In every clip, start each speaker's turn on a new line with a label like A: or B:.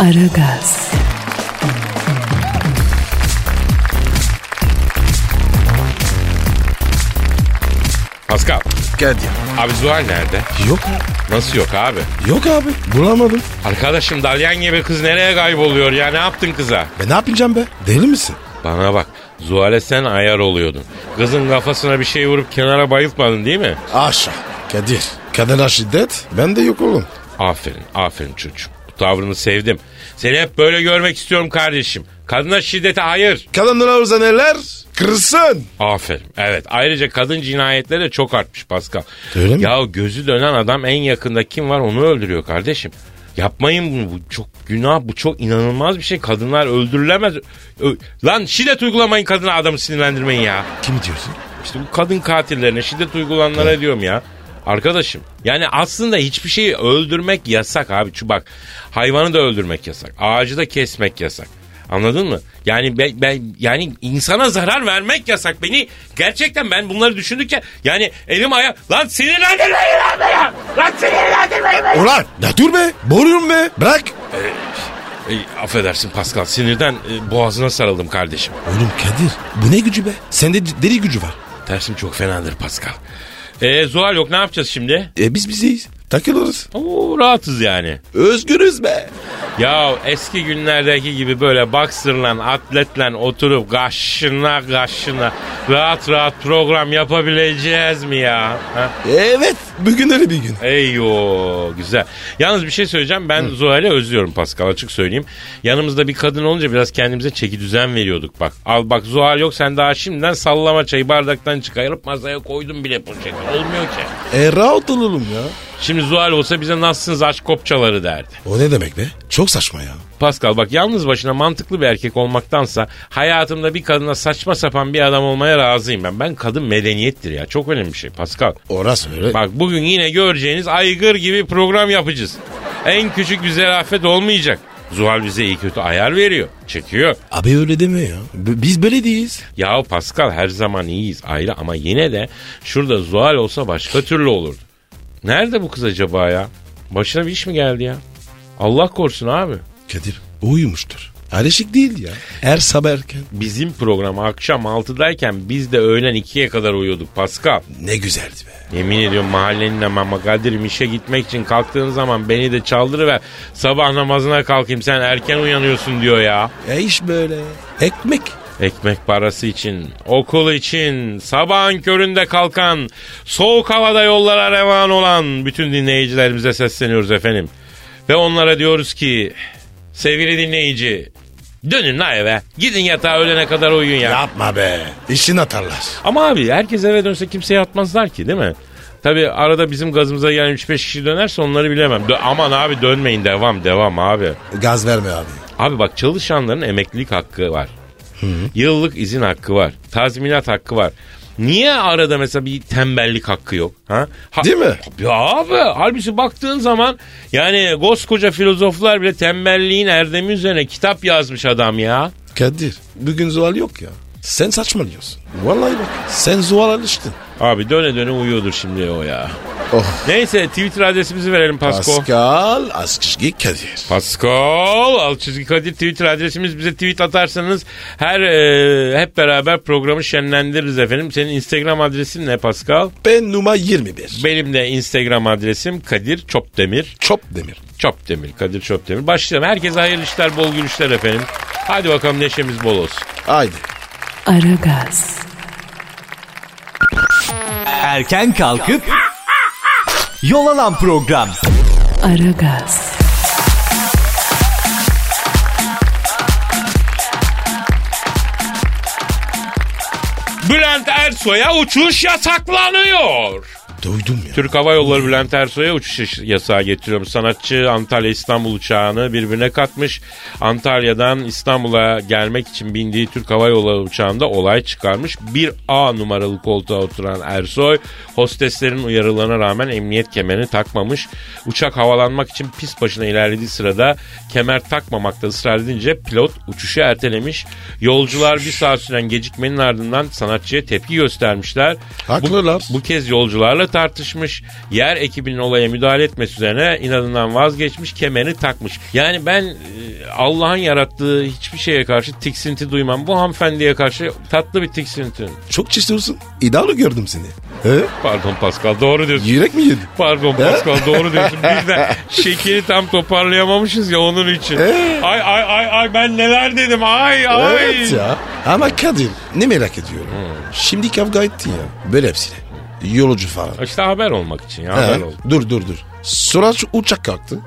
A: Aragaz,
B: Pascal,
C: Gel ya.
B: abi Zuhal nerede?
C: Yok.
B: Nasıl yok abi?
C: Yok abi. Bulamadım.
B: Arkadaşım dalyan gibi kız nereye kayboluyor ya? Ne yaptın kıza?
C: Ben E, ne yapacağım be? Deli misin?
B: Bana bak, Zuhal'e sen ayar oluyordun. Kızın kafasına bir şey vurup kenara bayıltmadın değil mi?
C: Aşağı. Kadir. Kadına şiddet. Ben de yok oğlum.
B: Aferin, aferin çocuğum. Bu tavrını sevdim. Seni hep böyle görmek istiyorum kardeşim. Kadına şiddete hayır.
C: Kadınlara uza neler? Kırsın.
B: Aferin. Evet. Ayrıca kadın cinayetleri de çok artmış Pascal.
C: Öyle mi?
B: Ya gözü dönen adam en yakında kim var onu öldürüyor kardeşim. Yapmayın bunu. Bu çok günah. Bu çok inanılmaz bir şey. Kadınlar öldürülemez. Ö- Lan şiddet uygulamayın kadına adamı sinirlendirmeyin ya.
C: Kim diyorsun?
B: İşte bu kadın katillerine şiddet uygulananlara diyorum ya. Arkadaşım yani aslında hiçbir şeyi öldürmek yasak abi. Şu bak hayvanı da öldürmek yasak. Ağacı da kesmek yasak. Anladın mı? Yani ben, ben- yani insana zarar vermek yasak. Beni gerçekten ben bunları düşündükçe yani elim aya lan sinirlendirmeyin lan beni. Lan sinirlendirmeyin beni.
C: Ulan ne dur be. Boruyorum be. Bırak.
B: E, affedersin Pascal sinirden e, boğazına sarıldım kardeşim.
C: Oğlum Kadir. Bu ne gücü be? Sende c- deli gücü var.
B: Tersim çok fenadır Pascal. E, Zuhal yok ne yapacağız şimdi?
C: E biz bizeyiz. Takılırız.
B: Oo, rahatız yani.
C: Özgürüz be.
B: Ya eski günlerdeki gibi böyle boxer'la atletle oturup kaşına kaşına rahat rahat program yapabileceğiz mi ya? Ha?
C: Evet. Bugün öyle bir gün.
B: Eyo güzel. Yalnız bir şey söyleyeceğim ben Zuhal'i özlüyorum Pascal açık söyleyeyim. Yanımızda bir kadın olunca biraz kendimize çeki düzen veriyorduk bak. Al bak Zuhal yok sen daha şimdiden sallama çayı bardaktan çıkarıp masaya koydun bile poşeti. Olmuyor ki.
C: E rahat olalım ya.
B: Şimdi Zuhal olsa bize nasılsınız aşk kopçaları derdi.
C: O ne demek be? Çok saçma ya.
B: Pascal bak yalnız başına mantıklı bir erkek olmaktansa hayatımda bir kadına saçma sapan bir adam olmaya razıyım ben. Ben kadın medeniyettir ya. Çok önemli bir şey Pascal.
C: Orası öyle.
B: Bak bugün yine göreceğiniz aygır gibi program yapacağız. En küçük bir zerafet olmayacak. Zuhal bize iyi kötü ayar veriyor. Çekiyor.
C: Abi öyle deme ya. B- biz böyle değiliz.
B: Yahu Pascal her zaman iyiyiz ayrı ama yine de şurada Zuhal olsa başka türlü olurdu. Nerede bu kız acaba ya? Başına bir iş mi geldi ya? Allah korusun abi.
C: Kadir o uyumuştur. Alışık değil ya. Her sabah erken.
B: Bizim program akşam 6'dayken biz de öğlen 2'ye kadar uyuyorduk Pascal.
C: Ne güzeldi be.
B: Yemin ediyorum mahallenin ama Kadir'im işe gitmek için kalktığın zaman beni de çaldırıver. Sabah namazına kalkayım sen erken uyanıyorsun diyor ya.
C: E iş böyle. Ekmek.
B: Ekmek parası için, okul için, sabahın köründe kalkan, soğuk havada yollara revan olan bütün dinleyicilerimize sesleniyoruz efendim. Ve onlara diyoruz ki sevgili dinleyici dönün la eve gidin yatağa öğlene kadar uyuyun ya.
C: Yapma be. İşin atarlar.
B: Ama abi herkes eve dönse kimseye atmazlar ki değil mi? Tabi arada bizim gazımıza gelen 3-5 kişi dönerse onları bilemem. Dö- Aman abi dönmeyin devam devam abi.
C: Gaz verme abi.
B: Abi bak çalışanların emeklilik hakkı var. Yıllık izin hakkı var. Tazminat hakkı var. Niye arada mesela bir tembellik hakkı yok? Ha? Ha-
C: Değil mi?
B: Ya abi halbuki baktığın zaman yani koskoca filozoflar bile tembelliğin erdemi üzerine kitap yazmış adam ya.
C: Kadir bugün zuhal yok ya. Sen saçmalıyorsun. Vallahi bak. Sen zuhal alıştın.
B: Abi döne döne uyuyordur şimdi o ya.
C: Oh.
B: Neyse Twitter adresimizi verelim Pasko.
C: Pascal Askışki Kadir.
B: Pascal alt çizgi Kadir Twitter adresimiz bize tweet atarsanız her e, hep beraber programı şenlendiririz efendim. Senin Instagram adresin ne Pascal?
C: Ben numara 21.
B: Benim de Instagram adresim Kadir Çopdemir.
C: Çop demir.
B: Çopdemir, Kadir Çopdemir. Başlayalım. Herkese hayırlı işler, bol gülüşler efendim. Hadi bakalım neşemiz bol olsun.
C: Haydi.
A: Aragaz,
D: Erken kalkıp yol alan program.
A: Aragaz,
B: Bülent Ersoy'a uçuş yasaklanıyor.
C: Duydum ya.
B: Türk Hava Yolları Bülent Ersoy'a uçuş yasağı getiriyorum. Sanatçı Antalya İstanbul uçağını birbirine katmış. Antalya'dan İstanbul'a gelmek için bindiği Türk Hava Yolları uçağında olay çıkarmış. Bir A numaralı koltuğa oturan Ersoy hosteslerin uyarılarına rağmen emniyet kemerini takmamış. Uçak havalanmak için pis başına ilerlediği sırada kemer takmamakta ısrar edince pilot uçuşu ertelemiş. Yolcular bir saat süren gecikmenin ardından sanatçıya tepki göstermişler. Bu-
C: Haklılar.
B: bu kez yolcularla tartışmış. Yer ekibinin olaya müdahale etmesi üzerine inadından vazgeçmiş, kemeri takmış. Yani ben e, Allah'ın yarattığı hiçbir şeye karşı tiksinti duymam. Bu hanımefendiye karşı tatlı bir tiksinti.
C: Çok çiziyorsun. İddialı gördüm seni. He?
B: Pardon Pascal doğru diyorsun.
C: Yürek mi yedin?
B: Pardon Pascal doğru diyorsun. Biz de şekeri tam toparlayamamışız ya onun için. Ay ay ay ay ben neler dedim ay ay.
C: Evet ya. Ama Kadir ne merak ediyorum. Şimdi kavga ettin ya. Böyle hepsine. Yolcu falan.
B: İşte haber olmak için ya
C: He?
B: haber oldu.
C: Dur dur dur. Sonra şu uçak kalktı.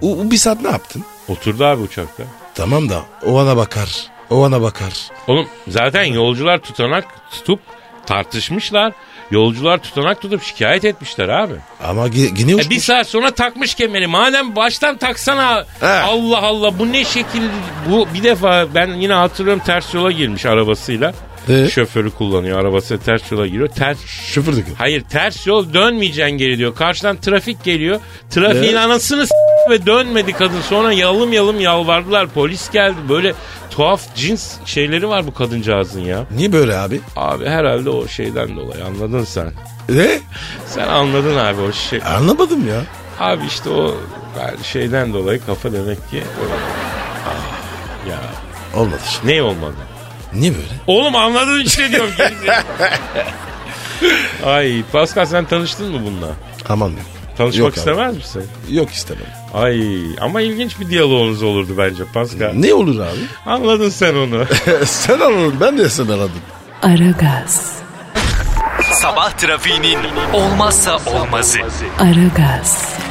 C: U- u- bir saat ne yaptın?
B: Oturdu abi uçakta.
C: Tamam da o ana bakar. O ana bakar.
B: Oğlum zaten yolcular tutanak tutup tartışmışlar. Yolcular tutanak tutup şikayet etmişler abi.
C: Ama ge- gene
B: E bir
C: uçmuş.
B: saat sonra takmış kemeri. Madem baştan taksana.
C: He.
B: Allah Allah bu ne şekil bu bir defa ben yine hatırlıyorum ters yola girmiş arabasıyla.
C: E?
B: Şoförü kullanıyor arabası ters yola giriyor. Ters
C: Şoför de gö-
B: Hayır ters yol dönmeyeceksin geri diyor. Karşıdan trafik geliyor. Trafiğin anasını s- ve dönmedi kadın. Sonra yalım yalım yalvardılar. Polis geldi. Böyle tuhaf cins şeyleri var bu kadıncağızın ya.
C: Niye böyle abi?
B: Abi herhalde o şeyden dolayı anladın sen.
C: Ne?
B: Sen anladın abi o şey.
C: E, Anlamadım ya.
B: Abi işte o yani şeyden dolayı kafa demek ki. Ah, ya
C: Olmadı şimdi.
B: ne olmadı?
C: Niye böyle?
B: Oğlum anladın işte diyorum. gerizekalı. Ay Pascal sen tanıştın mı bununla?
C: Aman yok.
B: Tanışmak
C: Yok abi.
B: istemez misin?
C: Yok istemem.
B: Ay ama ilginç bir diyaloğunuz olurdu bence Pascal.
C: Ne olur abi?
B: Anladın sen onu.
C: sen aradın ben de sen aradım.
A: Aragaz,
D: Sabah trafiğinin olmazsa olmazı.
A: Aragaz,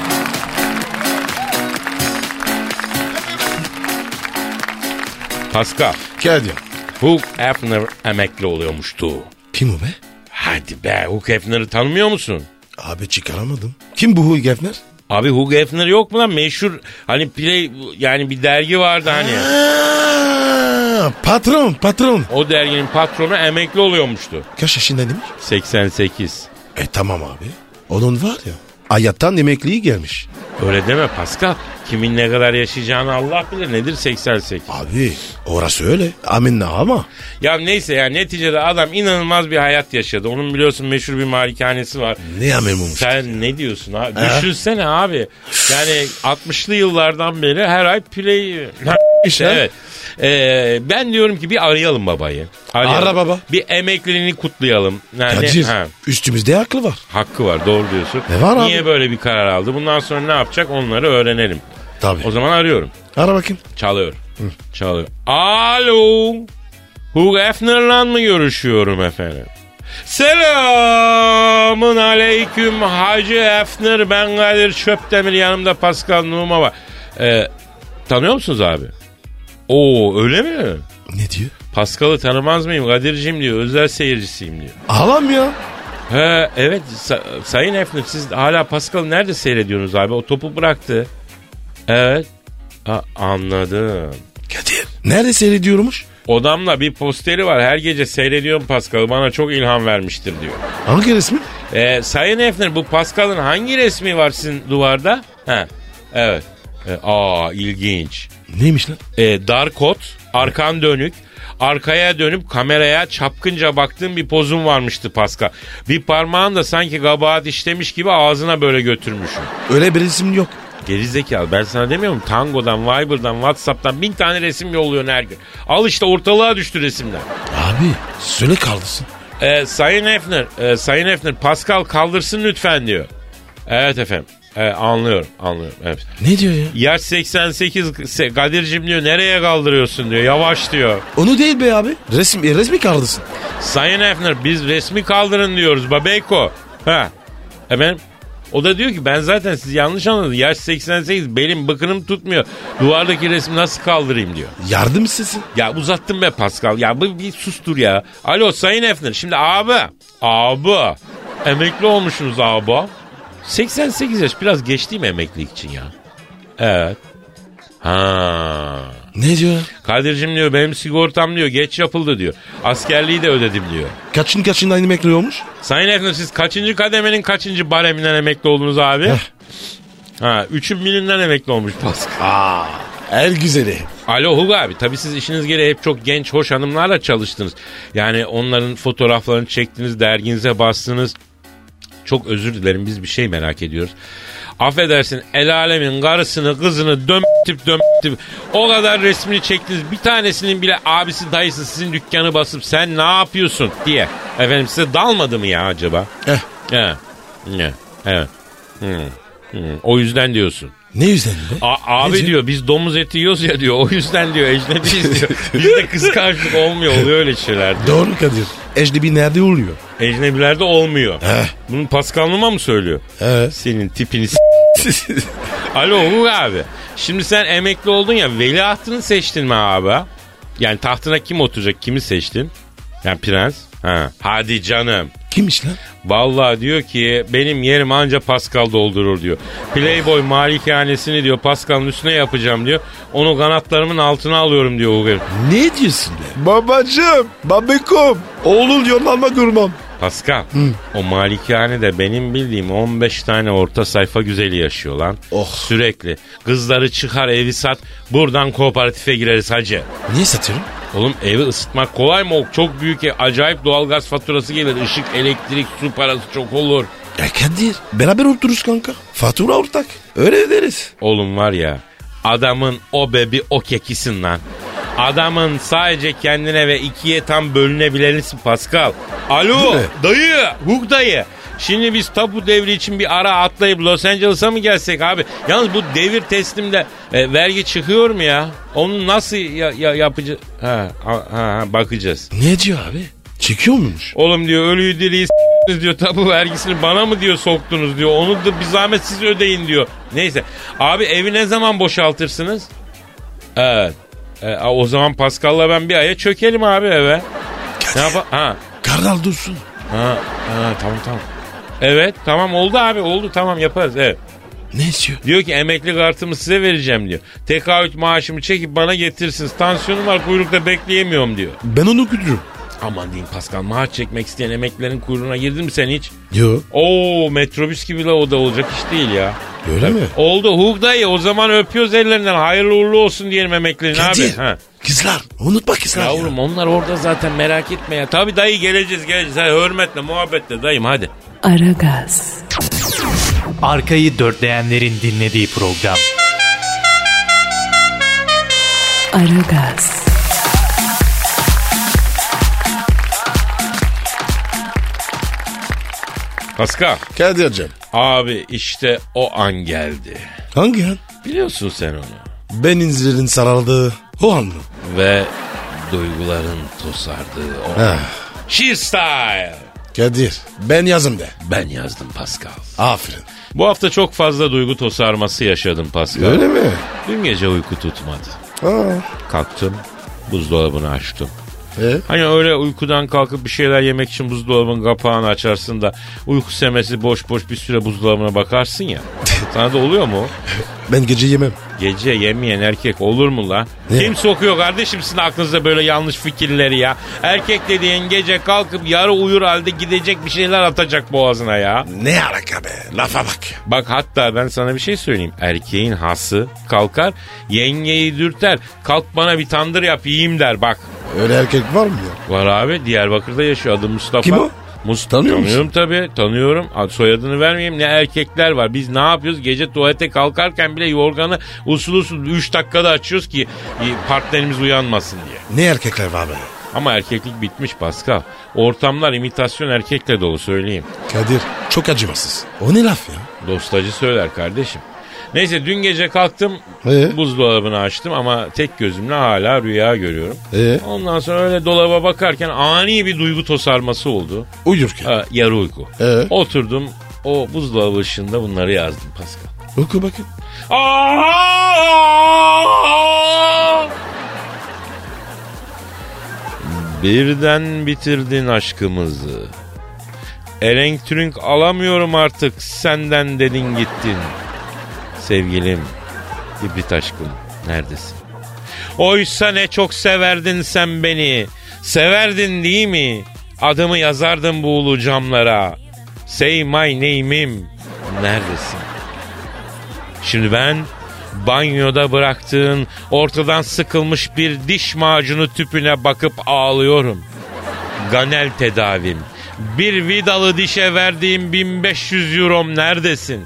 B: Pascal,
C: Gel diyor.
B: Hugh Hefner emekli oluyormuştu.
C: Kim o be?
B: Hadi be Hugh Hefner'ı tanımıyor musun?
C: Abi çıkaramadım. Kim bu Huy Gefner?
B: Abi Hugh Hefner yok mu lan meşhur hani play yani bir dergi vardı hani.
C: Aa, Ah, patron patron.
B: O derginin patronu emekli oluyormuştu.
C: Kaç yaşında demiş?
B: 88.
C: E tamam abi. Onun var ya. Hayattan emekliyi gelmiş.
B: Öyle deme Pascal. Kimin ne kadar yaşayacağını Allah bilir. Nedir 88?
C: Abi orası öyle. Aminna ama.
B: Ya neyse ya neticede adam inanılmaz bir hayat yaşadı. Onun biliyorsun meşhur bir malikanesi var.
C: Ne yamen olmuş?
B: Sen ne diyorsun abi? Düşünsene abi. Yani 60'lı yıllardan beri her ay play...
C: İşte.
B: Evet. Ee, ben diyorum ki bir arayalım babayı. Arayalım.
C: Ara baba.
B: Bir emekliliğini kutlayalım. Yani,
C: Kadir
B: ha,
C: üstümüzde haklı var.
B: hakkı var doğru diyorsun.
C: Ne var
B: Niye
C: abi?
B: böyle bir karar aldı? Bundan sonra ne yapacak onları öğrenelim.
C: Tabii.
B: O zaman arıyorum.
C: Ara bakayım.
B: Çalıyor. Çalıyor. Alo. Hugh Hefner'la mı görüşüyorum efendim? Selamın aleyküm Hacı Hefner. Ben Kadir Çöptemir. Yanımda Pascal Numa var. Ee, tanıyor musunuz abi? Oo öyle mi?
C: Ne diyor?
B: Pascal'ı tanımaz mıyım? Kadir'cim diyor. Özel seyircisiyim diyor.
C: Ağlam ya.
B: He, evet sa- Sayın Hefner siz hala Pascal'ı nerede seyrediyorsunuz abi? O topu bıraktı. Evet. Ha, anladım.
C: Kadir. Nerede seyrediyormuş?
B: Odamla bir posteri var. Her gece seyrediyorum Pascal'ı. Bana çok ilham vermiştir diyor.
C: Hangi resmi?
B: Ee, Sayın Efner bu Pascal'ın hangi resmi var sizin duvarda? Ha, evet. Ee, aa ilginç.
C: Neymiş lan?
B: Ee, dar kot, arkan dönük. Arkaya dönüp kameraya çapkınca baktığım bir pozum varmıştı Pascal. Bir parmağın da sanki kabahat işlemiş gibi ağzına böyle götürmüşüm.
C: Öyle bir resim yok.
B: Gerizekalı ben sana demiyorum Tango'dan, Viber'dan, Whatsapp'tan bin tane resim yolluyorsun her gün. Al işte ortalığa düştü resimler.
C: Abi söyle kaldısın.
B: Ee, Sayın Efner, e, Sayın Efner Pascal kaldırsın lütfen diyor. Evet efendim. Ee, anlıyorum, anlıyorum. Evet.
C: Ne diyor ya?
B: Yaş 88 se- Kadir'cim diyor nereye kaldırıyorsun diyor. Yavaş diyor.
C: Onu değil be abi. Resim, e, resmi kaldısın.
B: Sayın Efner biz resmi kaldırın diyoruz Babeyko. Ha. Efendim? O da diyor ki ben zaten sizi yanlış anladım. Yaş 88 belim bıkınım tutmuyor. Duvardaki resmi nasıl kaldırayım diyor.
C: Yardım istesin.
B: Ya uzattım be Pascal. Ya bu bir sustur ya. Alo Sayın Efner. Şimdi abi. Abi. Emekli olmuşsunuz abi. 88 yaş biraz geç değil mi emeklilik için ya? Evet. Ha.
C: Ne diyor?
B: Kadir'cim diyor benim sigortam diyor geç yapıldı diyor. Askerliği de ödedim diyor.
C: Kaçın kaçında emekli olmuş?
B: Sayın efendim siz kaçıncı kademenin kaçıncı bareminden emekli oldunuz abi?
C: Heh.
B: ha, üçün birinden emekli olmuş Pascal.
C: El güzeli.
B: Alo Hugo abi tabii siz işiniz gereği hep çok genç hoş hanımlarla çalıştınız. Yani onların fotoğraflarını çektiniz, derginize bastınız. Çok özür dilerim biz bir şey merak ediyoruz. Affedersin el alemin karısını kızını dömtip dömtip o kadar resmini çektiniz. Bir tanesinin bile abisi dayısı sizin dükkanı basıp sen ne yapıyorsun diye. Efendim size dalmadı mı ya acaba?
C: Eh,
B: He. Ne? Evet. Hı. Hı. O yüzden diyorsun.
C: ne yüzden be?
B: A- abi
C: Nece?
B: diyor biz domuz eti yiyoruz ya diyor. O yüzden diyor ecnebiyiz diyor. Bizde kıskançlık olmuyor oluyor öyle şeyler. diyor.
C: Doğru Kadir. Ejdebi nerede oluyor?
B: Ecnebilerde olmuyor.
C: Heh.
B: Bunu Paskal'lıma mı söylüyor?
C: Evet.
B: Senin tipini s- Alo Uğur abi. Şimdi sen emekli oldun ya veliahtını seçtin mi abi? Yani tahtına kim oturacak kimi seçtin? Yani prens. Ha. Hadi canım.
C: Kimmiş lan?
B: Vallahi diyor ki benim yerim anca Pascal doldurur diyor. Playboy malikanesini diyor Pascal'ın üstüne yapacağım diyor. Onu kanatlarımın altına alıyorum diyor Uğur.
C: Ne diyorsun be? Babacım, babikom. Oğlum yorlanma durmam.
B: Pascal o malikanede benim bildiğim 15 tane orta sayfa güzeli yaşıyor lan.
C: Oh.
B: Sürekli. Kızları çıkar evi sat buradan kooperatife gireriz hacı.
C: Niye satıyorum?
B: Oğlum evi ısıtmak kolay mı? O Çok büyük ev. Acayip doğalgaz faturası gelir. Işık, elektrik, su parası çok olur.
C: Ya Kadir, beraber otururuz kanka. Fatura ortak. Öyle ederiz.
B: Oğlum var ya adamın o bebi o kekisin lan. Adamın sadece kendine ve ikiye tam bölünebilirsin Pascal. Alo
C: Değil mi?
B: dayı Huk dayı. Şimdi biz tapu devri için bir ara atlayıp Los Angeles'a mı gelsek abi? Yalnız bu devir teslimde e, vergi çıkıyor mu ya? Onu nasıl ya, ya, yapıcı- Ha, ha, ha, bakacağız.
C: Ne diyor abi? Çekiyor muymuş?
B: Oğlum diyor ölüyü diriyi s**tiniz diyor tapu vergisini bana mı diyor soktunuz diyor. Onu da bir zahmet siz ödeyin diyor. Neyse abi evi ne zaman boşaltırsınız? Evet. E, a, o zaman Pascal'la ben bir aya çökelim abi eve. Ne
C: Kadir,
B: yapa? Ha.
C: Karnal dursun.
B: Ha. Ha tamam tamam. Evet tamam oldu abi oldu tamam yaparız evet.
C: Ne istiyor?
B: Diyor ki emekli kartımı size vereceğim diyor. Tekaüt maaşımı çekip bana getirsiniz. Tansiyonum var kuyrukta bekleyemiyorum diyor.
C: Ben onu güdürüm.
B: Aman diyeyim Pascal maaş çekmek isteyen emeklilerin kuyruğuna girdin mi sen hiç?
C: Yo,
B: Oo metrobüs gibi la o da olacak iş değil ya.
C: öyle mi?
B: Oldu Hug dayı o zaman öpüyoruz ellerinden hayırlı uğurlu olsun diyelim emeklerin abi.
C: Kadir,
B: Ha.
C: kızlar unutma kızlar.
B: Yavrum
C: ya.
B: onlar orada zaten merak etme ya. Tabii dayı geleceğiz geleceğiz. Hadi, hürmetle muhabbetle dayım hadi.
A: Aragaz,
D: Arkayı dörtleyenlerin dinlediği program.
A: Aragaz,
B: Pascal
C: Kadir'cim.
B: abi işte o an geldi.
C: Hangi an?
B: Biliyorsun sen onu.
C: Benizlerin sarardığı o an mı?
B: Ve duyguların tosardığı o. an.
C: Ha.
B: She Style.
C: Kadir ben yazım de.
B: Ben yazdım Pascal.
C: Aferin.
B: Bu hafta çok fazla duygu tosarması yaşadım Pascal.
C: Öyle mi?
B: Dün gece uyku tutmadı.
C: Aa.
B: Kalktım buzdolabını açtım.
C: E?
B: Hani öyle uykudan kalkıp bir şeyler yemek için buzdolabının kapağını açarsın da uyku semesi boş boş bir süre buzdolabına bakarsın ya. Sana da oluyor mu?
C: Ben gece yemem.
B: Gece yemeyen erkek olur mu la?
C: Ne?
B: Kim sokuyor kardeşim sizin aklınıza böyle yanlış fikirleri ya? Erkek dediğin gece kalkıp yarı uyur halde gidecek bir şeyler atacak boğazına ya.
C: Ne alaka be? Lafa bak.
B: Bak hatta ben sana bir şey söyleyeyim. Erkeğin hası kalkar yengeyi dürter. Kalk bana bir tandır yap yiyeyim der bak.
C: Öyle erkek var mı ya?
B: Var abi Diyarbakır'da yaşıyor adı Mustafa.
C: Kim o?
B: Mustafa.
C: Tanıyor musun?
B: Tanıyorum tabii tanıyorum. Ad- Soyadını vermeyeyim ne erkekler var. Biz ne yapıyoruz gece tuvalete kalkarken bile yorganı usul usul 3 dakikada açıyoruz ki e, partnerimiz uyanmasın diye.
C: Ne erkekler var be?
B: Ama erkeklik bitmiş Pascal. Ortamlar imitasyon erkekle dolu söyleyeyim.
C: Kadir çok acımasız. O ne laf ya?
B: Dostacı söyler kardeşim. Neyse dün gece kalktım
C: Ee?
B: buzdolabını açtım ama tek gözümle hala rüya görüyorum.
C: Ee?
B: Ondan sonra öyle dolaba bakarken ani bir duygu tosarması oldu.
C: Uyurken.
B: Ha, yarı uyku.
C: Ee?
B: Oturdum o buzdolabı ışığında bunları yazdım Pascal.
C: Oku bakın.
B: Birden bitirdin aşkımızı. Erenk Türünk alamıyorum artık senden dedin gittin. Sevgilim, ibrit aşkım neredesin? Oysa ne çok severdin sen beni. Severdin değil mi? Adımı yazardın bu ulu camlara. Say my name'im. Neredesin? Şimdi ben banyoda bıraktığın ortadan sıkılmış bir diş macunu tüpüne bakıp ağlıyorum. Ganel tedavim. Bir vidalı dişe verdiğim 1500 eurom neredesin?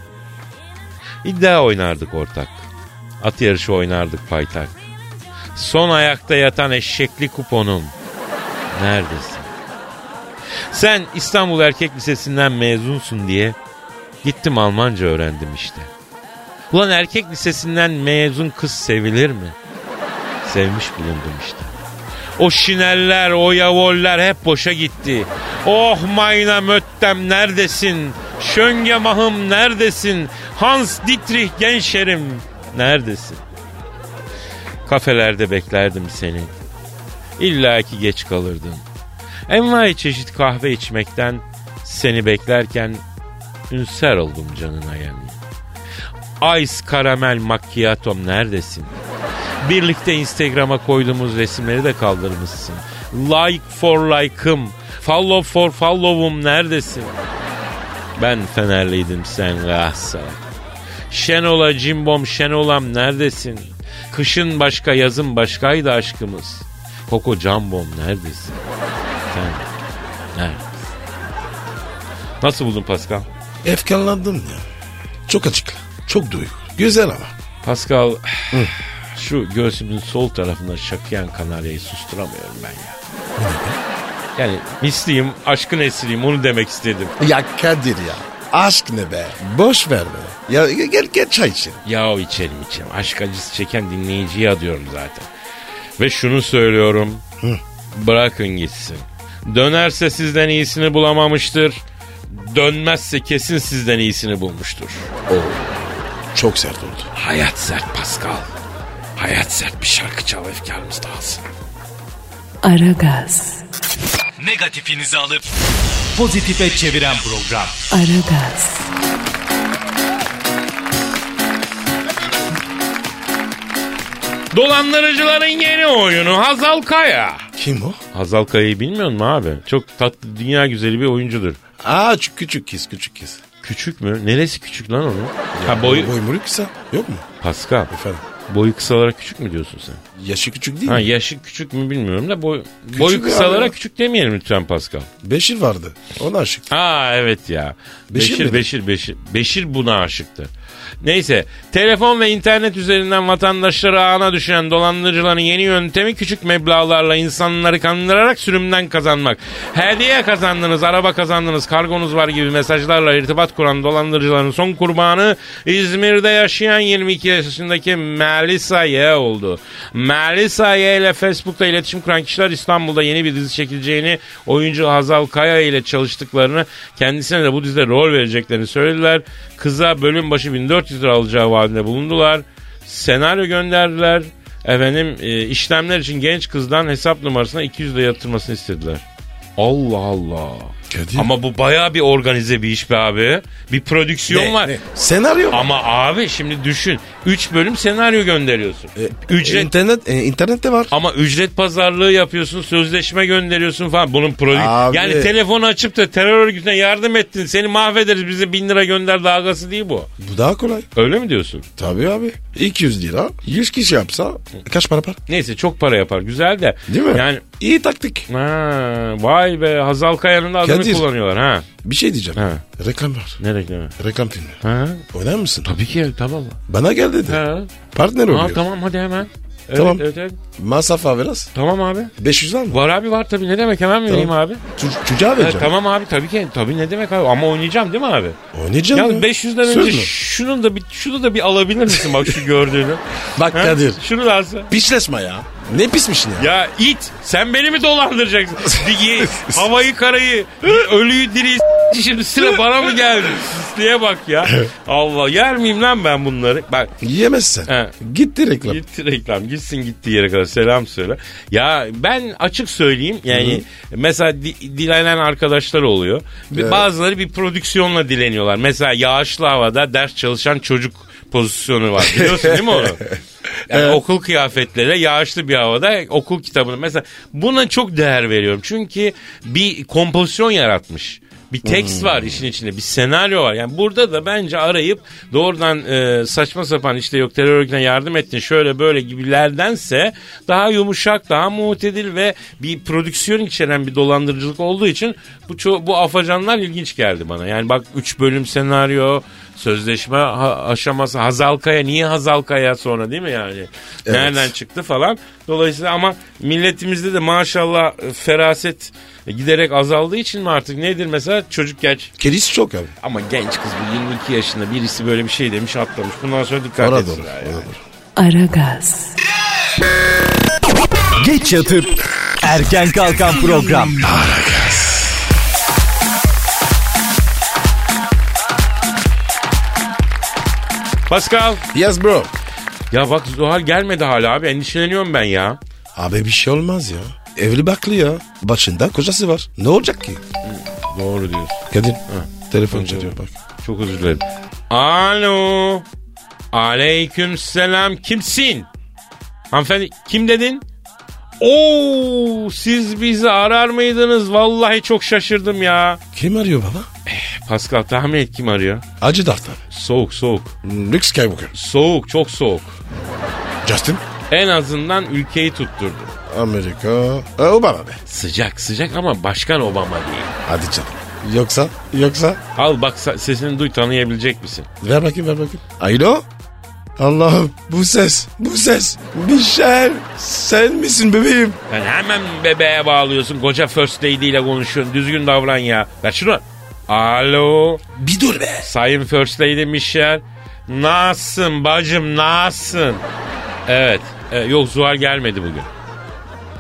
B: İddia oynardık ortak. At yarışı oynardık paytak. Son ayakta yatan eşekli kuponum. Neredesin? Sen İstanbul Erkek Lisesi'nden mezunsun diye gittim Almanca öğrendim işte. Ulan erkek lisesinden mezun kız sevilir mi? Sevmiş bulundum işte. O şineller, o yavoller hep boşa gitti. Oh mayna möttem neredesin? Şönge mahım neredesin? Hans Dietrich Genşerim neredesin? Kafelerde beklerdim seni. İlla ki geç kalırdın. Envai çeşit kahve içmekten seni beklerken ünser oldum canına yemin. Ice karamel macchiato'm neredesin? Birlikte Instagram'a koyduğumuz resimleri de kaldırmışsın. Like for like'ım, follow for follow'um neredesin? Ben Fenerliydim sen Galatasaray. Şenola cimbom şenolam neredesin? Kışın başka yazın başkaydı aşkımız. Koko cambom neredesin? Sen neredesin? Nasıl buldun Pascal?
C: Efkarlandım ya. Çok açık. Çok duygu. Güzel ama.
B: Pascal şu göğsümün sol tarafına şakıyan kanaryayı susturamıyorum ben ya. Yani misliyim, aşkın esiriyim onu demek istedim.
C: Ya Kadir ya. Aşk ne be? Boş ver be. Ya gel gel çay içelim.
B: Yahu içelim içelim. Aşk acısı çeken dinleyiciyi adıyorum zaten. Ve şunu söylüyorum. Bırakın gitsin. Dönerse sizden iyisini bulamamıştır. Dönmezse kesin sizden iyisini bulmuştur.
C: Çok sert oldu.
B: Hayat sert Pascal. Hayat sert bir şarkı çal efkarımız dağılsın.
A: Aragaz,
D: Negatifinizi alıp pozitife çeviren program.
A: Aragaz,
B: Dolandırıcıların yeni oyunu Hazal Kaya.
C: Kim o?
B: Hazal Kaya'yı bilmiyor musun abi? Çok tatlı, dünya güzeli bir oyuncudur.
C: Aa şu küçük kız küçük kız. Küçük
B: Küçük mü? Neresi küçük lan onun? Ha boyu...
C: Boy muruk kısa. Yok mu?
B: Pascal,
C: Efendim.
B: boyu kısalara küçük mü diyorsun sen?
C: Yaşı küçük değil
B: Ha
C: mi?
B: yaşı küçük mü bilmiyorum da boy, boyu
C: ya
B: kısalara
C: ya.
B: küçük demeyelim lütfen Pascal.
C: Beşir vardı. Ona aşık.
B: Ha evet ya.
C: Beşir
B: Beşir
C: miydi?
B: Beşir Beşir Beşir buna aşıktı. Neyse telefon ve internet üzerinden vatandaşları ağına düşen dolandırıcıların yeni yöntemi küçük meblağlarla insanları kandırarak sürümden kazanmak. Hediye kazandınız, araba kazandınız, kargonuz var gibi mesajlarla irtibat kuran dolandırıcıların son kurbanı İzmir'de yaşayan 22 yaşındaki Melisa Y oldu. Melisa Y ile Facebook'ta iletişim kuran kişiler İstanbul'da yeni bir dizi çekileceğini, oyuncu Hazal Kaya ile çalıştıklarını, kendisine de bu dizide rol vereceklerini söylediler. Kıza bölüm başı 1400 lira alacağı vaadinde bulundular. Senaryo gönderdiler. Efendim e, işlemler için genç kızdan hesap numarasına 200 lira yatırmasını istediler. Allah Allah.
C: Kadir.
B: Ama bu bayağı bir organize bir iş be abi. Bir prodüksiyon var.
C: Senaryo.
B: Ama abi şimdi düşün. 3 bölüm senaryo gönderiyorsun. ücret
C: İnternet, e, internette var.
B: ama ücret pazarlığı yapıyorsun, sözleşme gönderiyorsun falan. Bunun prodü...
C: Abi.
B: Yani telefonu açıp da terör örgütüne yardım ettin. Seni mahvederiz bize bin lira gönder dalgası değil bu.
C: Bu daha kolay.
B: Öyle mi diyorsun?
C: Tabii abi. 200 lira. 100 kişi yapsa kaç para yapar?
B: Neyse çok para yapar. Güzel de.
C: Değil mi?
B: Yani
C: İyi taktik.
B: ha, vay be Hazal Kaya'nın da adını
C: Kadir.
B: kullanıyorlar ha.
C: Bir şey diyeceğim.
B: Ha.
C: Reklam var.
B: Ne reklamı?
C: Reklam filmi.
B: Ha?
C: Oynar mısın?
B: Tabii ki tamam.
C: Bana gel dedi.
B: Ha.
C: Partner
B: Ha,
C: oluyor.
B: tamam hadi hemen. Evet,
C: Tamam.
B: Evet, evet.
C: Masrafa biraz.
B: Tamam abi.
C: 500 var mı?
B: Var abi var tabii ne demek hemen vereyim abi.
C: Ço- çocuğa
B: Ha,
C: vereceğim.
B: tamam abi tabii ki tabii ne demek abi ama oynayacağım değil mi abi?
C: Oynayacağım.
B: Ya 500'den
C: Söz
B: önce
C: mü?
B: şunun da bir şunu da bir alabilir misin bak şu gördüğünü?
C: Bak
B: Ha?
C: Kadir.
B: Şunu da alsana.
C: Pisleşme ya. Ne pismişsin ya?
B: Ya it sen beni mi dolandıracaksın? Digi, havayı karayı, ölüyü diriyi s- şimdi sıra bana mı geldi? Sisliğe bak ya. Allah yer miyim lan ben bunları? Bak
C: Yiyemezsin.
B: He.
C: Gitti reklam.
B: gitti reklam gitsin gitti yere kadar. selam söyle. Ya ben açık söyleyeyim yani mesela di- dilenen arkadaşlar oluyor. Bir- Bazıları bir prodüksiyonla dileniyorlar. Mesela yağışlı havada ders çalışan çocuk pozisyonu var. Biliyorsun değil mi onu? Yani okul kıyafetleriyle yağışlı bir havada okul kitabını mesela buna çok değer veriyorum. Çünkü bir kompozisyon yaratmış. Bir tekst var işin içinde, bir senaryo var. Yani burada da bence arayıp doğrudan e, saçma sapan işte yok terör örgütüne yardım ettin şöyle böyle gibilerdense daha yumuşak, daha mutedil ve bir prodüksiyon içeren bir dolandırıcılık olduğu için bu ço- bu afacanlar ilginç geldi bana. Yani bak 3 bölüm senaryo, sözleşme ha- aşaması Hazal Kaya niye Hazal Kaya sonra değil mi yani? Nereden çıktı falan. Dolayısıyla ama milletimizde de maşallah e, feraset giderek azaldığı için mi artık nedir mesela çocuk genç
C: Kelis çok abi.
B: ama genç kız bu 22 yaşında birisi böyle bir şey demiş atlamış. Bundan sonra dikkat
C: Ona doğru.
B: etsinler.
C: ona doğru.
A: Aragaz,
D: Geç yatıp erken kalkan program.
B: Pascal.
C: Yes bro.
B: Ya bak Zuhal gelmedi hala abi endişeleniyorum ben ya.
C: Abi bir şey olmaz ya. Evli baklı ya. Başında kocası var. Ne olacak ki?
B: Doğru diyorsun.
C: Kadir. Telefon çalıyor bak.
B: Çok özür dilerim. Alo. Aleyküm selam. Kimsin? Hanımefendi kim dedin? Oo siz bizi arar mıydınız? Vallahi çok şaşırdım ya.
C: Kim arıyor baba?
B: Pascal tahmin et kim arıyor?
C: Acı Dart abi.
B: Soğuk soğuk.
C: Luke Skywalker.
B: Soğuk çok soğuk.
C: Justin.
B: En azından ülkeyi tutturdu.
C: Amerika. E, Obama be.
B: Sıcak sıcak ama başkan Obama değil.
C: Hadi canım. Yoksa? Yoksa?
B: Al bak sa- sesini duy tanıyabilecek misin?
C: Ver bakayım ver bakayım. Alo. Allah'ım bu ses bu ses. Michel sen misin bebeğim?
B: Yani hemen bebeğe bağlıyorsun. Koca first lady ile konuşuyorsun. Düzgün davran ya. Ver şunu. Alo.
C: Bir dur be.
B: Sayın First Lady Michelle. Nasılsın bacım nasılsın? Evet. e, yok Zuhal gelmedi bugün.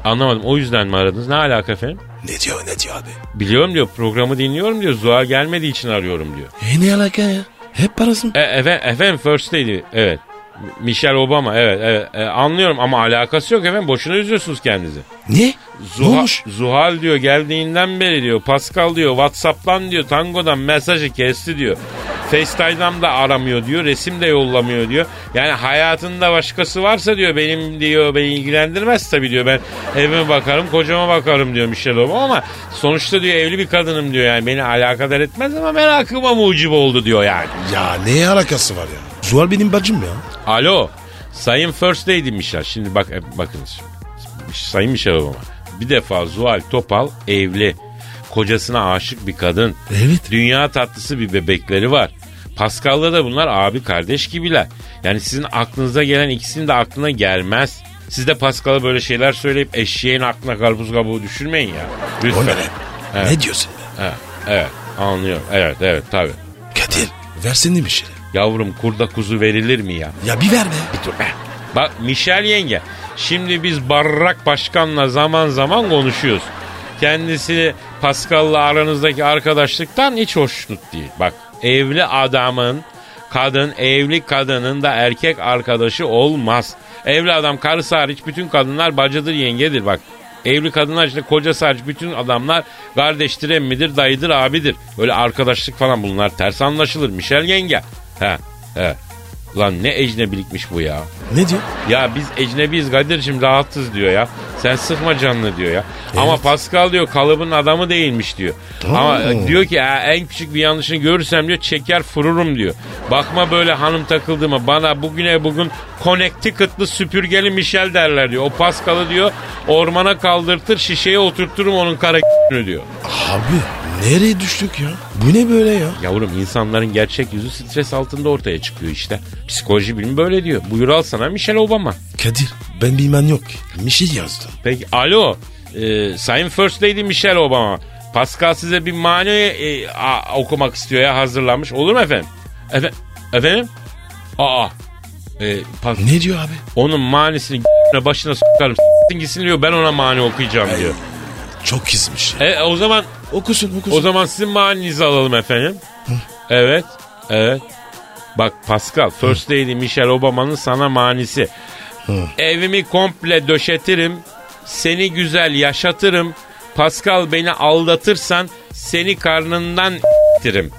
B: Anlamadım. O yüzden mi aradınız? Ne alaka efendim?
C: Ne diyor ne diyor abi?
B: Biliyorum diyor. Programı dinliyorum diyor. Zuhal gelmediği için arıyorum diyor.
C: E ne alaka ya? Hep parası mı?
B: E, efe- efendim First Lady. Evet. M- Michelle Obama. Evet. evet. E, anlıyorum ama alakası yok efendim. Boşuna üzüyorsunuz kendinizi.
C: Ne?
B: Zuha-
C: Ne olmuş?
B: Zuhal diyor geldiğinden beri diyor Pascal diyor Whatsapp'tan diyor Tango'dan mesajı kesti diyor. FaceTime'dan da aramıyor diyor. Resim de yollamıyor diyor. Yani hayatında başkası varsa diyor benim diyor beni ilgilendirmez tabii diyor. Ben evime bakarım kocama bakarım diyor Michelle Obama ama sonuçta diyor evli bir kadınım diyor yani beni alakadar etmez ama merakıma mucib oldu diyor yani.
C: Ya ne alakası var ya? Zuhal benim bacım ya.
B: Alo. Sayın First Lady Michelle. Şimdi bak e, bakınız. Sayın Michelle Obama. Bir defa Zuhal Topal evli. Kocasına aşık bir kadın.
C: Evet.
B: Dünya tatlısı bir bebekleri var. Pascal'la da bunlar abi kardeş gibiler. Yani sizin aklınıza gelen ikisinin de aklına gelmez. Siz de Pascal'a böyle şeyler söyleyip eşeğin aklına karpuz kabuğu düşürmeyin ya.
C: O
B: Lütfen.
C: ne be? Ne diyorsun be?
B: Evet, evet anlıyorum. Evet evet tabii.
C: Kadir versene Michel'i.
B: Yavrum kurda kuzu verilir mi ya?
C: şey. Ya bir ver be.
B: Eh. Bak Michel yenge. Şimdi biz Barrak Başkan'la zaman zaman konuşuyoruz. Kendisi Pascal'la aranızdaki arkadaşlıktan hiç hoşnut değil. Bak evli adamın kadın evli kadının da erkek arkadaşı olmaz. Evli adam karısı hariç bütün kadınlar bacıdır yengedir bak. Evli kadınlar içinde kocası hariç bütün adamlar kardeştir, emmidir, dayıdır, abidir. Öyle arkadaşlık falan bunlar ters anlaşılır. Michel yenge. He, he. Lan ne ecnebilikmiş bu ya.
C: Ne diyor?
B: Ya biz ecnebiyiz Kadir'cim rahatsız diyor ya. Sen sıkma canını diyor ya. Ama Pascal diyor kalıbın adamı değilmiş diyor. Ama e, diyor ki "Ha, en küçük bir yanlışını görürsem diyor çeker fururum diyor. Bakma böyle hanım takıldığıma bana bugüne bugün Connecticut'lı süpürgeli Michel derler diyor. O Pascal'ı diyor ormana kaldırtır şişeye oturturum onun kara diyor.
C: Abi nereye düştük ya? Bu ne böyle ya?
B: Yavrum insanların gerçek yüzü stres altında ortaya çıkıyor işte. Psikoloji bilimi böyle diyor. Buyur al sana Michelle Obama.
C: Kadir ben bilmem yok. şey Michel yazdı.
B: Peki alo. Ee, Sayın First Lady Michelle Obama. Pascal size bir mani e, a- okumak istiyor ya hazırlanmış. Olur mu efendim? Efe- efendim? Aa. Ee, Pas-
C: Ne diyor abi?
B: onun manisini g- başına sokarım. S**tin gitsin diyor ben ona mani okuyacağım diyor.
C: Çok kızmış ya.
B: E, o zaman
C: Okusun okusun.
B: o zaman sizin maninizi alalım efendim. Evet. Evet. Bak Pascal First Lady Michelle Obama'nın sana manisi. Evimi komple döşetirim. Seni güzel yaşatırım. Pascal beni aldatırsan seni karnından ***tirim.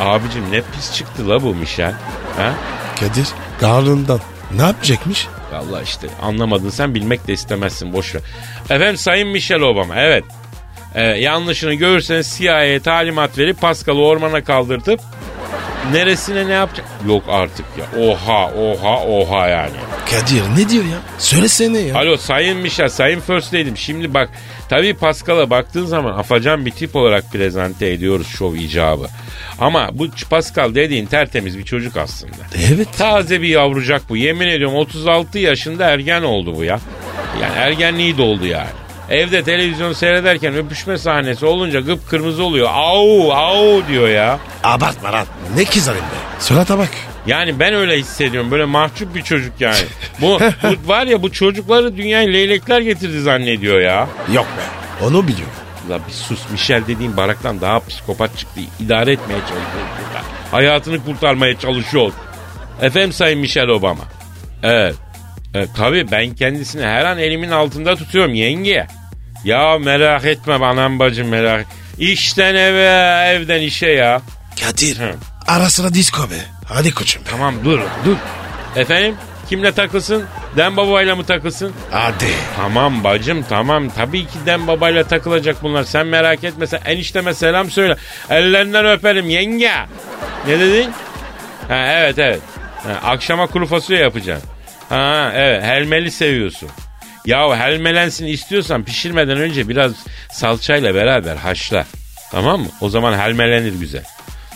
B: Abicim ne pis çıktı la bu Mişel. Ha?
C: Kadir karnından ne yapacakmış?
B: Valla işte anlamadın sen bilmek de istemezsin boş ver. Efendim Sayın Michelle Obama evet. Ee, yanlışını görürseniz CIA'ye talimat verip Pascal'ı ormana kaldırtıp neresine ne yapacak? Yok artık ya. Oha oha oha yani.
C: Kadir ne diyor ya? Söylesene ya.
B: Alo Sayın Michel, Sayın First Lady'm. Şimdi bak tabii Pascal'a baktığın zaman afacan bir tip olarak prezente ediyoruz şov icabı. Ama bu Pascal dediğin tertemiz bir çocuk aslında.
C: Evet.
B: Taze bir yavrucak bu. Yemin ediyorum 36 yaşında ergen oldu bu ya. Yani ergenliği doldu yani. Evde televizyon seyrederken öpüşme sahnesi olunca kıpkırmızı oluyor. Au au diyor ya.
C: Abartma lan. Ne kızarım be. Surata bak.
B: Yani ben öyle hissediyorum. Böyle mahcup bir çocuk yani. Bu, bu var ya bu çocukları dünyaya leylekler getirdi zannediyor ya.
C: Yok be. Onu biliyorum.
B: La bir sus Michel dediğin baraktan daha psikopat çıktı. İdare etmeye çalışıyor. burada. Hayatını kurtarmaya çalışıyor. Efendim Sayın Michel Obama. Evet. E, tabii ben kendisini her an elimin altında tutuyorum yenge. Ya merak etme be anam bacım merak. İşten eve evden işe ya.
C: Kadir.
B: Hı.
C: Ara sıra disco be. Hadi koçum.
B: Tamam dur dur. Efendim kimle takılsın? Dem babayla mı takılsın?
C: Hadi.
B: Tamam bacım tamam. Tabii ki Dem babayla takılacak bunlar. Sen merak etme. Sen enişteme selam söyle. Ellerinden öperim yenge. Ne dedin? Ha, evet evet. Ha, akşama kuru fasulye yapacaksın. Ha evet helmeli seviyorsun. Yahu helmelensin istiyorsan pişirmeden önce biraz salçayla beraber haşla. Tamam mı? O zaman helmelenir güzel.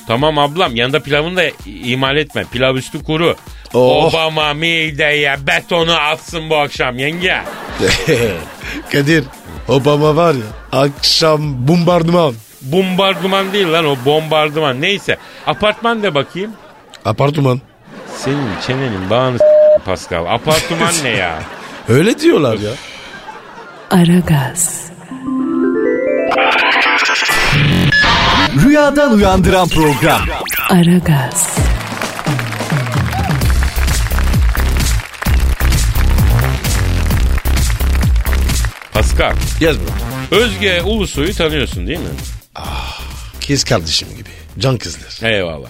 B: Tamam ablam yanında pilavını da imal etme. Pilav üstü kuru.
C: Oh.
B: Obama mideye betonu atsın bu akşam yenge.
C: Kadir. Obama var ya. Akşam bombardıman.
B: Bombardıman değil lan o bombardıman. Neyse apartman de bakayım.
C: Apartman.
B: Senin çenenin bağını Pascal. Apartman ne ya?
C: Öyle diyorlar ya.
A: Aragaz,
D: Rüyadan uyandıran program.
A: Aragaz,
B: Pascal.
C: Yaz bunu.
B: Özge Ulusoy'u tanıyorsun değil mi?
C: Kız kardeşim gibi. Can kızlar.
B: Eyvallah.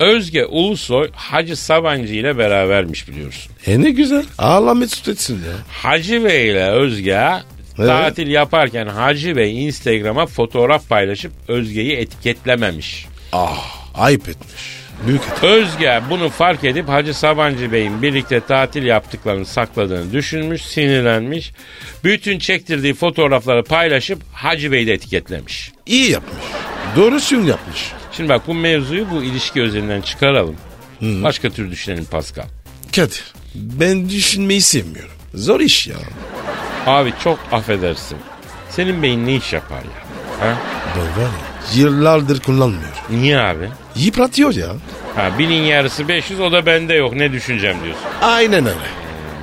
B: Özge Ulusoy Hacı Sabancı ile berabermiş biliyorsun.
C: E ne güzel. Allah mesut etsin ya.
B: Hacı Bey ile Özge
C: Evet.
B: tatil yaparken Hacı Bey Instagram'a fotoğraf paylaşıp Özge'yi etiketlememiş.
C: Ah ayıp etmiş. Büyük et.
B: Özge bunu fark edip Hacı Sabancı Bey'in birlikte tatil yaptıklarını sakladığını düşünmüş, sinirlenmiş. Bütün çektirdiği fotoğrafları paylaşıp Hacı Bey'i de etiketlemiş.
C: İyi yapmış. Doğrusunu yapmış.
B: Şimdi bak bu mevzuyu bu ilişki özelinden çıkaralım. Başka türlü düşünelim Pascal.
C: Kadir ben düşünmeyi sevmiyorum. Zor iş ya.
B: Abi çok affedersin. Senin beyin ne iş yapar ya? Ha?
C: Ben var ya, yıllardır kullanmıyor.
B: Niye abi?
C: Yıpratıyor ya.
B: Ha, binin yarısı 500 o da bende yok ne düşüneceğim diyorsun.
C: Aynen öyle.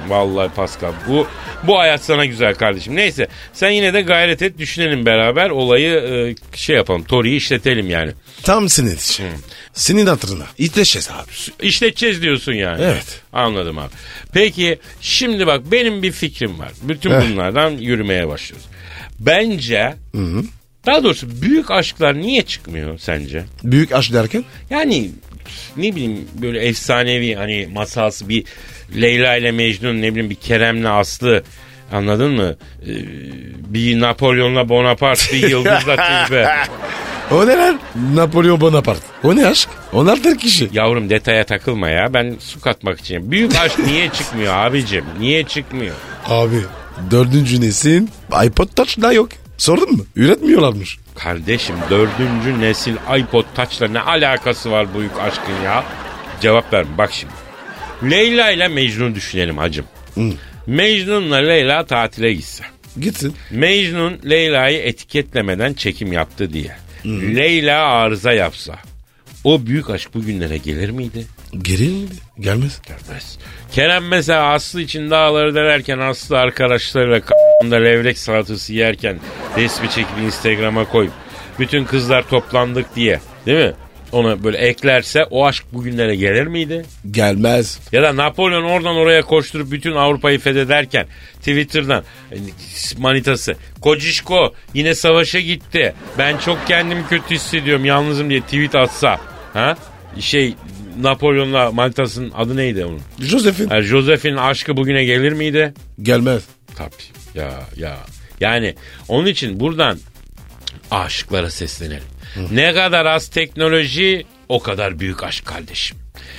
B: Vallahi Pascal bu bu hayat sana güzel kardeşim. Neyse sen yine de gayret et düşünelim beraber olayı e, şey yapalım. Tori'yi işletelim yani.
C: Tam senin için. Senin hatırına. İtleşeceğiz abi.
B: İşleteceğiz diyorsun yani.
C: Evet.
B: Anladım abi. Peki şimdi bak benim bir fikrim var. Bütün
C: Heh.
B: bunlardan yürümeye başlıyoruz. Bence daha doğrusu büyük aşklar niye çıkmıyor sence?
C: Büyük aşk derken?
B: Yani ne bileyim böyle efsanevi hani masalsı bir Leyla ile Mecnun ne bileyim bir Kerem'le Aslı anladın mı? Ee, bir Napolyon'la Bonaparte bir Yıldız'la Tilbe.
C: O ne lan? Napolyon Bonaparte. O ne aşk? Onlar der kişi.
B: Yavrum detaya takılma ya ben su katmak için. Büyük aşk niye çıkmıyor abicim? Niye çıkmıyor?
C: Abi dördüncü nesil iPod Touch daha yok. Sordun mu? Üretmiyorlarmış.
B: Kardeşim dördüncü nesil iPod Touch'la ne alakası var bu yük aşkın ya? Cevap ver bak şimdi. Leyla ile Mecnun düşünelim hacım. Mecnun'la Leyla tatile gitse.
C: Gitsin.
B: Mecnun Leyla'yı etiketlemeden çekim yaptı diye. Leyla arıza yapsa. O büyük aşk bugünlere gelir miydi?
C: Gelir miydi? Gelmez.
B: Gelmez. Kerem mesela Aslı için dağları delerken Aslı arkadaşlarıyla k***ında levrek salatası yerken resmi çekip Instagram'a koyup bütün kızlar toplandık diye değil mi? ona böyle eklerse o aşk bugünlere gelir miydi?
C: Gelmez.
B: Ya da Napolyon oradan oraya koşturup bütün Avrupa'yı fethederken Twitter'dan e, manitası Kocişko yine savaşa gitti. Ben çok kendimi kötü hissediyorum yalnızım diye tweet atsa. Ha? Şey Napolyon'la manitasının adı neydi onun?
C: Joseph'in.
B: Ha, Joseph'in aşkı bugüne gelir miydi?
C: Gelmez.
B: Tabii. Ya ya. Yani onun için buradan aşıklara seslenelim. Ne kadar az teknoloji o kadar büyük aşk kardeşim.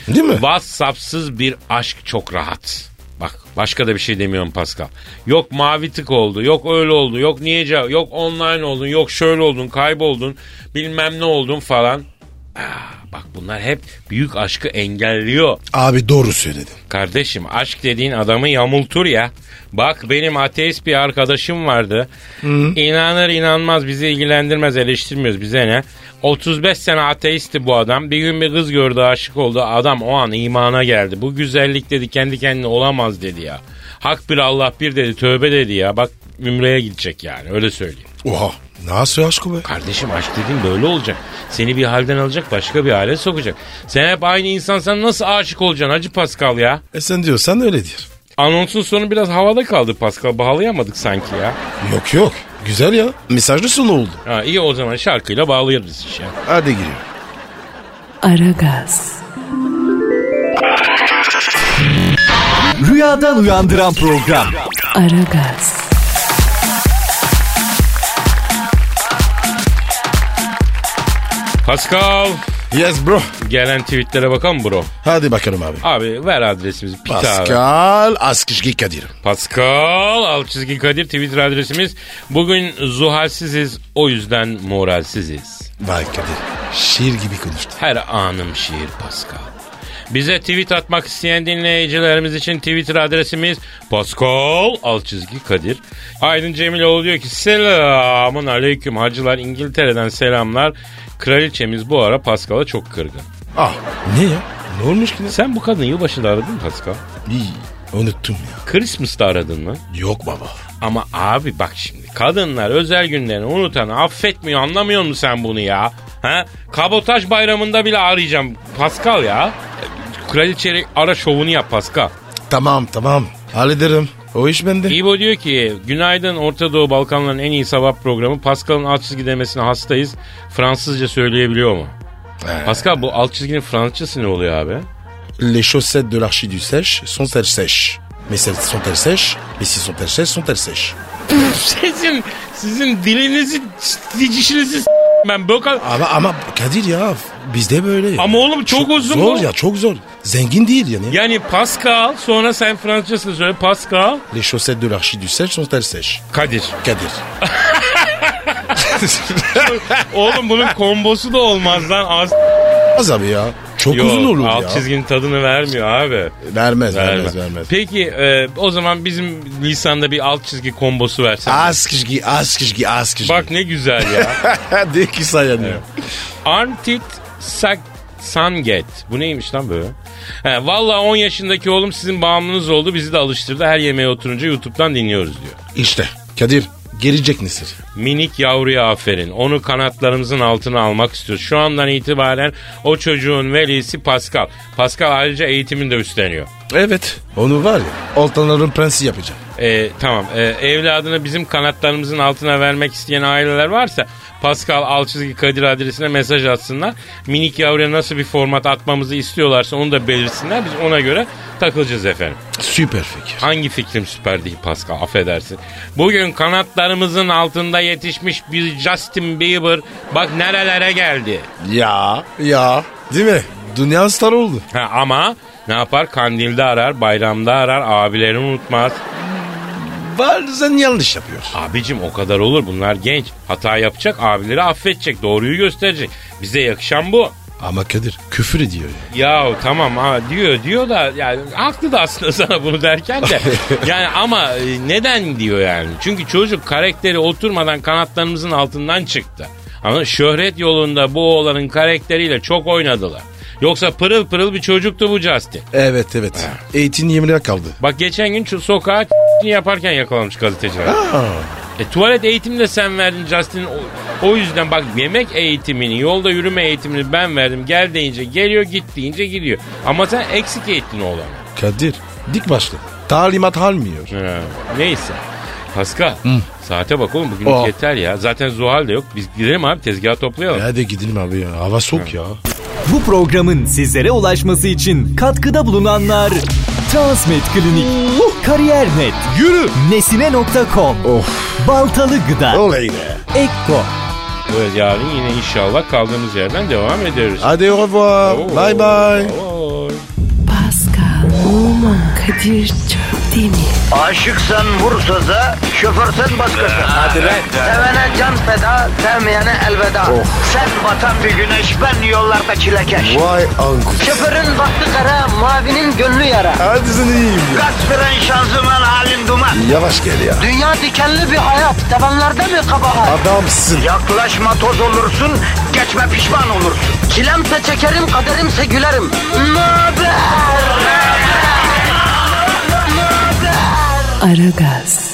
C: Değil mi?
B: WhatsApp'sız bir aşk çok rahat. Bak başka da bir şey demiyorum Pascal. Yok mavi tık oldu, yok öyle oldu, yok niye cevap, yok online oldun, yok şöyle oldun, kayboldun, bilmem ne oldun falan. Aa, bak bunlar hep büyük aşkı engelliyor.
C: Abi doğru söyledin.
B: Kardeşim aşk dediğin adamı yamultur ya. Bak benim ateist bir arkadaşım vardı. İnanır inanmaz bizi ilgilendirmez eleştirmiyoruz bize ne. 35 sene ateisti bu adam. Bir gün bir kız gördü aşık oldu. Adam o an imana geldi. Bu güzellik dedi kendi kendine olamaz dedi ya. Hak bir Allah bir dedi tövbe dedi ya. Bak Ümre'ye gidecek yani öyle söyleyeyim.
C: Oha. Nasıl aşkı be?
B: Kardeşim aşk dediğin böyle olacak. Seni bir halden alacak başka bir hale sokacak. Sen hep aynı insansan nasıl aşık olacaksın Hacı Pascal ya?
C: E sen diyorsan öyle diyor.
B: Anonsun sonu biraz havada kaldı Pascal. Bağlayamadık sanki ya.
C: Yok yok. Güzel ya. Mesajlı sonu oldu.
B: Ha, iyi o zaman şarkıyla bağlayırız işe.
C: Hadi giriyor.
A: Aragaz,
D: Rüyadan uyandıran program.
A: Aragaz,
B: Pascal
C: Yes bro.
B: gelen tweetlere bakalım bro.
C: Hadi bakalım abi.
B: Abi ver adresimizi. Pita abi.
C: Pascal Askışki Kadir.
B: Pascal alt çizgi Kadir Twitter adresimiz. Bugün zuhalsiziz o yüzden moralsiziz.
C: Vay Kadir. Şiir gibi konuştu.
B: Her anım şiir Pascal. Bize tweet atmak isteyen dinleyicilerimiz için Twitter adresimiz Pascal alt çizgi Kadir. Aydın Cemiloğlu diyor ki selamun aleyküm hacılar İngiltere'den selamlar. Kraliçemiz bu ara Pascal'a çok kırgın.
C: Ah ne ya? Ne olmuş ki? ne?
B: Sen bu kadını yılbaşında aradın mı Pascal?
C: İyi. Unuttum ya.
B: Christmas'ta aradın mı?
C: Yok baba.
B: Ama abi bak şimdi kadınlar özel günlerini unutanı affetmiyor anlamıyor musun sen bunu ya? Ha? Kabotaj bayramında bile arayacağım Pascal ya. Kraliçeyi ara şovunu yap Pascal.
C: Tamam tamam. Hallederim. O iş bende.
B: İbo diyor ki günaydın Orta Doğu Balkanların en iyi sabah programı. Pascal'ın alt çizgi demesine hastayız. Fransızca söyleyebiliyor mu?
C: Ee.
B: Pascal bu alt çizginin Fransızcası ne oluyor abi?
C: Les chaussettes de l'archiduchesse sont-elles sèches Mais celles sont-elles sèches Mais si sont-elles sèches, sont-elles sèches
B: Sizin, sizin dilinizi, dicişinizi ben bu kadar...
C: Ama ama Kadir ya bizde böyle.
B: Ama oğlum çok, uzun
C: Zor
B: bu.
C: ya çok zor. Zengin değil yani.
B: Yani Pascal sonra sen Fransızcasını söyle Pascal.
C: Les chaussettes de l'archiduchesse sont-elles sèches
B: Kadir.
C: Kadir.
B: Oğlum bunun kombosu da olmaz lan. Az...
C: Az abi ya. Çok
B: Yok,
C: uzun olur
B: alt
C: ya.
B: çizginin tadını vermiyor abi.
C: Vermez vermez
B: Vermez.
C: vermez.
B: Peki e, o zaman bizim lisanda bir alt çizgi kombosu versen.
C: Az kişi az kişi az kişi.
B: Bak ne güzel ya.
C: de ki sayanıyor.
B: Antit Sak Sanget. Bu neymiş lan böyle? He, vallahi 10 yaşındaki oğlum sizin bağımlınız oldu. Bizi de alıştırdı. Her yemeğe oturunca YouTube'dan dinliyoruz diyor.
C: İşte Kadir gelecek nesil.
B: Minik yavruya aferin. Onu kanatlarımızın altına almak istiyoruz. Şu andan itibaren o çocuğun velisi Pascal. Pascal ayrıca eğitimini de üstleniyor.
C: Evet. Onu var ya Oltanların prensi yapacağım.
B: Ee, tamam. Ee, evladını bizim kanatlarımızın altına vermek isteyen aileler varsa Pascal Alçızgi Kadir adresine mesaj atsınlar. Minik yavruya nasıl bir format atmamızı istiyorlarsa onu da belirsinler. Biz ona göre takılacağız efendim.
C: Süper fikir.
B: Hangi fikrim süper değil Pascal affedersin. Bugün kanatlarımızın altında yetişmiş bir Justin Bieber bak nerelere geldi.
C: Ya ya değil mi? Dünya star oldu.
B: Ha, ama ne yapar? Kandilde arar, bayramda arar, abilerini unutmaz.
C: Bazen yanlış yapıyorsun.
B: Abicim o kadar olur bunlar genç. Hata yapacak, abileri affedecek, doğruyu gösterecek. Bize yakışan bu.
C: Ama Kadir küfür ediyor. ya.
B: Ya tamam ha diyor diyor da yani haklı da aslında sana bunu derken de yani ama e, neden diyor yani? Çünkü çocuk karakteri oturmadan kanatlarımızın altından çıktı. Ama şöhret yolunda bu oğlanın karakteriyle çok oynadılar. Yoksa pırıl pırıl bir çocuktu bu Justin.
C: Evet evet. Eğitim yemine kaldı.
B: Bak geçen gün şu sokağa yaparken yakalamış gazeteciler. E, tuvalet eğitimini de sen verdin Justin. O, o yüzden bak yemek eğitimini, yolda yürüme eğitimini ben verdim. Gel deyince geliyor, git deyince gidiyor. Ama sen eksik eğittin oğlanı.
C: Kadir dik başlı. Talimat almıyor.
B: Ha, Neyse. Pascal saate bak oğlum bugün
C: Oh.
B: yeter ya. Zaten Zuhal de yok. Biz gidelim abi tezgahı toplayalım.
C: Hadi gidelim abi ya. Hava soğuk ya.
D: Bu programın sizlere ulaşması için katkıda bulunanlar Transmed Klinik, Kariyer.net,
C: Yürü.
D: Nesine.com,
C: Of.
D: Baltalı Gıda,
C: Olay be.
D: Ekko.
B: Ve yarın yine inşallah kaldığımız yerden devam ederiz.
C: Hadi au revoir.
B: Oo,
C: Bye bye.
B: oo.
A: Pascal, Oman, Kadir çok değil mi?
E: Aşıksan vursa da şoförsen
C: Ee,
E: başkasın. Hadi
B: lan.
E: Sevene can feda, sevmeyene elveda. Sen batan bir güneş, ben yollarda çilekeş.
C: Oh. Vay anku.
E: Şoförün baktı kara, mavinin gönlü yara.
C: Hadi sen iyiyim ya.
E: Kasperen şanzıman halin duman.
C: Yavaş gel ya.
E: Dünya dikenli bir hayat, sevenlerde mi kabahar?
C: Adamsın.
E: Yaklaşma toz olursun, geçme pişman olursun. Çilemse çekerim, kaderimse gülerim. Möber!
A: Aragaz.